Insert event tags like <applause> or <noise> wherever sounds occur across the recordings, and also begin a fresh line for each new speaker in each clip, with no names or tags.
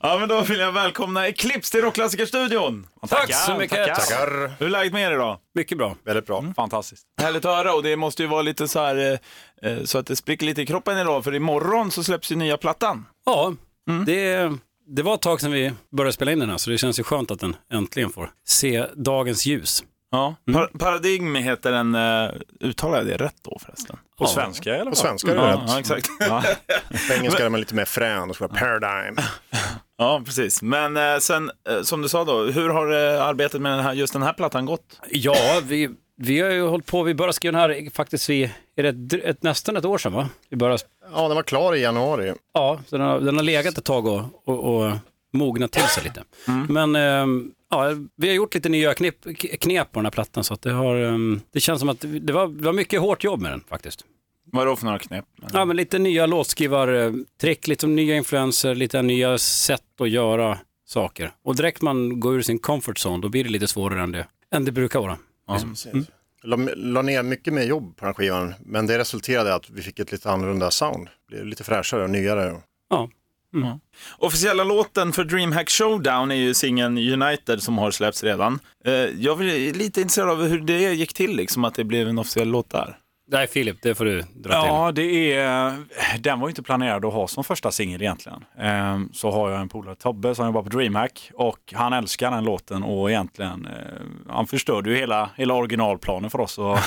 Ja, men då vill jag välkomna Eclipse till Rockklassikerstudion.
Tack så mycket.
Tackar.
Hur är läget med er idag?
Mycket bra.
Väldigt bra.
Fantastiskt. Härligt att höra och det måste ju vara lite så här eh, eh, så att det spricker lite i kroppen idag för imorgon så släpps ju nya plattan.
Ja, det, det var ett tag sedan vi började spela in den här så det känns ju skönt att den äntligen får se dagens ljus.
Ja. Par- Paradigm heter den, eh, uttalar jag det rätt då förresten?
På
svenska,
eller?
På svenska är det
Ja,
rätt.
ja exakt. <laughs> Ja.
På engelska är man lite mer frän och så bara paradigm.
ja, precis. Men eh, sen, eh, som du sa då, hur har eh, arbetet med den här, just den här plattan gått?
Ja, vi, vi har ju hållit på, vi började skriva den här faktiskt vid, är det ett, dr- ett, nästan ett år sedan va? Vi började,
Ja, den var klar i januari.
ja, så den har, den har legat ett tag och, och, och mognat till sig lite. Men ehm, ja, vi har gjort lite nya knep, knep på den här plattan så att det har, ehm, det känns som att det var, det var mycket hårt jobb med den faktiskt.
Vad är det för några knep?
Ja, men lite nya låtskrivartrick, lite nya influenser, lite nya sätt att göra saker. Och direkt man går ur sin comfort zone, då blir det lite svårare än det, än det brukar vara.
La, la ner mycket mer jobb på den här skivan, men det resulterade i att vi fick ett lite annorlunda sound. Blev lite fräschare och nyare.
Ja,
Officiella låten för DreamHack Showdown är ju singeln United som har släppts redan. Eh, Jag är lite intresserad av hur det gick till, liksom att det blev en officiell låt där.
nej Filip, det får du dra till.
Ja, det är, den var ju inte planerad att ha som första singel egentligen.
Eh, <laughs>
Ehm, Så har jag en polare, Tobbe, som jobbar på DreamHack och han älskar den låten och egentligen, eh, han förstörde ju hela, hela originalplanen för oss att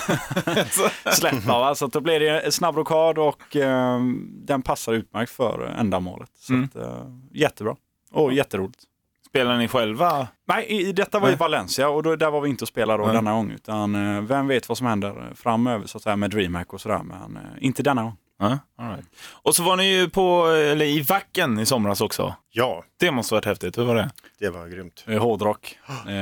släppa. Va? Så att då blev det en snabb rockad och ehm, den passar utmärkt för ändamålet. Så att, eh, jättebra och jätteroligt.
Spelar ni själva?
Nej, i, i- detta var i Valencia och då, där var vi inte och spelade då
Nej.
denna gång. Utan eh, vem vet vad som händer framöver så att säga med DreamHack och sådär. Men eh, inte denna gång.
Ja, all right. Och så var ni ju på, eller i Vacken i somras också.
Ja,
Det måste varit häftigt, hur var det?
det var grymt.
Eh, Hårdrock. Eh,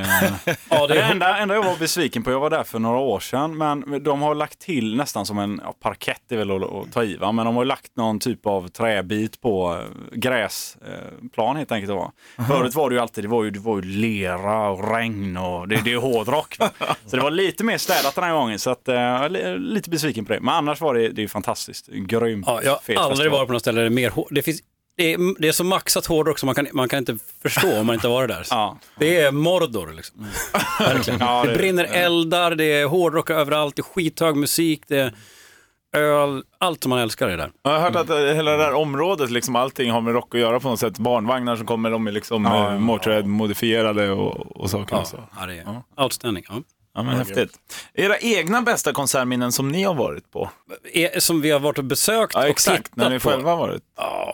Ja,
det
det är...
enda, enda jag var besviken på, jag var där för några år sedan, men de har lagt till nästan som en, ja, parkett är väl att, att ta i va, men de har lagt någon typ av träbit på eh, gräsplan helt enkelt. Va? Förut var det ju alltid, det var ju, det var ju lera och regn och det, det är hårdrock. Va? Så det var lite mer städat den här gången, så att, eh, jag är li- lite besviken på det. Men annars var det, det är ju fantastiskt, grymt.
ja, jag har
fet
aldrig
festival.
varit på något ställe där det är mer hår... Det, finns... det, är, det är så maxat hårdrock som man kan, man kan inte förstå om man inte har varit <laughs> där.
Ja.
Det är Mordor <laughs> liksom. Verkligen.
Ja,
det, brinner eldar, det är hårdrock överallt, det är skithög musik, det är öl, allt som man älskar är där.
Jag har hört att eh, hela det här området, liksom allting har med rock att göra på något sätt. Barnvagnar som kommer, de är liksom
Ja,
ja,
ja,
modifierade och, och saker.
Ja,
Och så.
ja det är outstanding. Ja.
Ja, men häftigt. Era egna bästa konsertminnen som ni har varit på?
är, som vi har varit och besökt
Ja,
och
exakt,
tittat
när ni
på.
själva har varit.
Ja,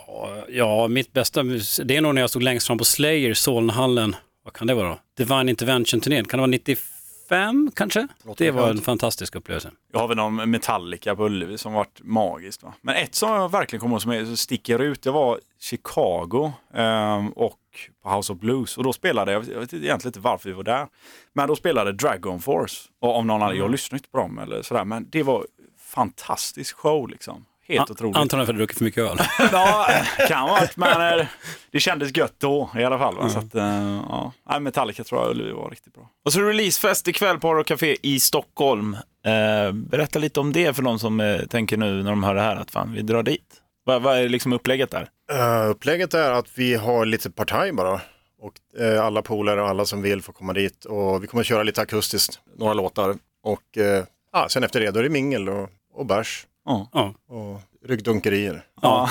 Ja, mitt bästa, mus- det är nog när jag stod längst fram på Slayer, Solnahallen, vad kan det vara då? Divine Intervention-turnén, kan det vara 95 kanske? Det var en fantastisk upplevelse.
Jag har väl någon Metallica på Ullevi som varit magiskt. Va? Men ett som jag verkligen kommer ihåg som är- som sticker ut, det var Chicago ehm, och på House of Blues. Och då spelade, jag vet, jag vet egentligen inte varför vi var där, men då spelade Dragon Force. Och om någon hade, jag lyssnade inte på dem eller sådär, men det var fantastisk show liksom. Helt otroligt.
Antagligen för att jag druckit för mycket öl.
ja, kan ha varit, men eh, det kändes gött då i alla fall. Va? Så att, eh, ja. Nej, Metallica tror jag Ullevi var riktigt bra.
Och så releasefest ikväll på Haro Café i Stockholm. Eh, berätta lite om det för de som eh, tänker nu när de hör det här att fan, vi drar dit. Vad, vad är liksom upplägget där?
Eh, upplägget är att vi har lite partaj bara. Och eh, alla polare och alla som vill får komma dit. Och vi kommer köra lite akustiskt, några låtar. Och eh, ah, sen efter det, då är det mingel och, och bärs
Ja.
Ja.
och ryggdunkerier.
Ja.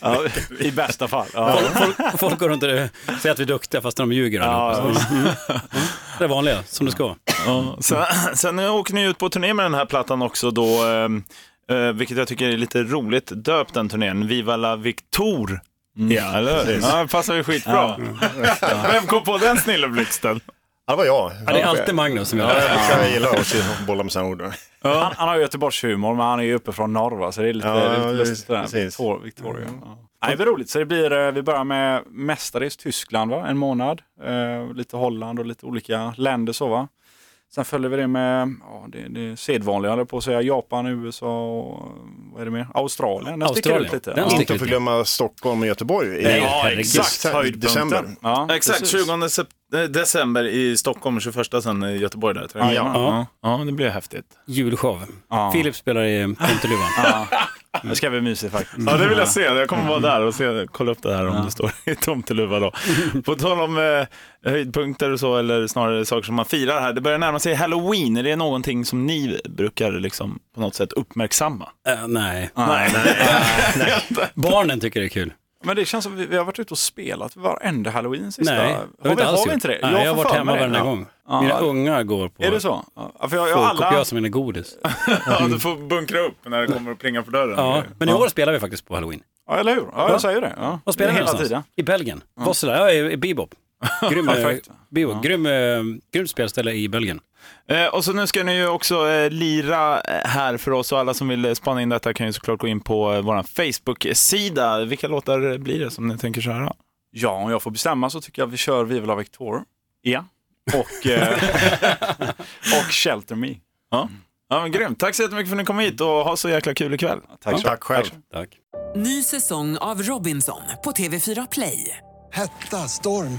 ja, i bästa fall. Ja.
Folk, folk går runt och säger att vi är duktiga fast de ljuger allihopa. Mm. Det är vanliga, som det ska vara.
Ja, sen, sen åker ni ut på turné med den här plattan också då, eh, eh, vilket jag tycker är lite roligt, döpt den turnén, Viva la Victor. Ja, eller hur? Ja, det passar ju skitbra. Vem kom på den snilleblixten?
Ja, det var jag.
Ja, det är alltid Magnus som gör det.
Jag gillar att bolla med sådana ord.
Han, han har ju Göteborgshumor, men han är ju uppifrån norr va, så det är lite,
Ja,
det är lite
precis,
lustigt det där.
precis. Mm.
Victor- Victoria. Ja. Nej, det blir roligt. Så det blir, eh, vi börjar med mestadels Tyskland va, en månad. Eh, lite Holland och lite olika länder så va.
Sen följer vi det med, ja, det, det är sedvanliga, jag höll på att säga, Japan, USA och vad är det mer? Australien. Den sticker
Australien.
ut lite.
Den
Ja.
sticker
Inte att förglömma Stockholm och Göteborg. i-
Nej,
Ja,
herregud.
exakt. Höjdpunkten.
December.
Ja,
Exakt,
precis.
20 sep- eh, december i Stockholm, 21 sen i Göteborg. Där, tror jag.
Ja, Ah, ja. Ja. ja, det blir häftigt.
Julshow.
Ja.
Filip spelar i Tomteluvan.
Det ska bli mysigt
Mm.
faktiskt.
Ja, det vill jag se. Jag
Mm.
kommer vara där och se, kolla upp det här om det står <laughs> i tomteluva
<laughs>
då. På tal om eh, höjdpunkter och så, eller snarare saker som man firar här. Det börjar närma sig halloween. Är det någonting som ni brukar liksom på något sätt uppmärksamma?
Eh, <laughs> nej.
Nej.
Barnen tycker det är kul.
Men det känns som vi, vi har varit ute och spelat varenda halloween sista.
Nej, det
har, vi,
alls
har vi
kul.
inte det?
Nej, jag, har
får
varit
för
hemma
mig det.
varenda
Ja.
gång.
Ja.
Mina ungar går på
Är det så? Ja, för jag, jag, alla,
folkkopiösa mina godis.
Ja, du får bunkra upp när det kommer och plingar på dörren.
<laughs> Ja. Men i år spelar vi faktiskt på halloween.
ja, eller hur? Ja, jag säger det. Ja.
Vad spelar ni
Hela
någonstans?
tiden.
I Belgien? Vossela? Ja, i, i <laughs> Bebop. Grym, eh,
Perfekt.
Bebop. Grym, eh, grymt spelställe i Belgien.
Eh, och så nu ska ni ju också eh, lira eh, här för oss och alla som vill eh, spana in detta kan ju såklart gå in på eh, vår Facebook-sida. Vilka låtar eh, blir det som ni tänker köra?
Ja, om jag får bestämma så tycker jag vi kör Viva la Victor. Ja.
<laughs>
Och, eh, och Shelter Me.
Ja, men grymt. Tack så jättemycket för att ni kom hit och ha så jäkla kul ikväll.
Tack, Tack själv.
Tack.
Ny säsong av Robinson på TV4 Play.
Hetta, storm,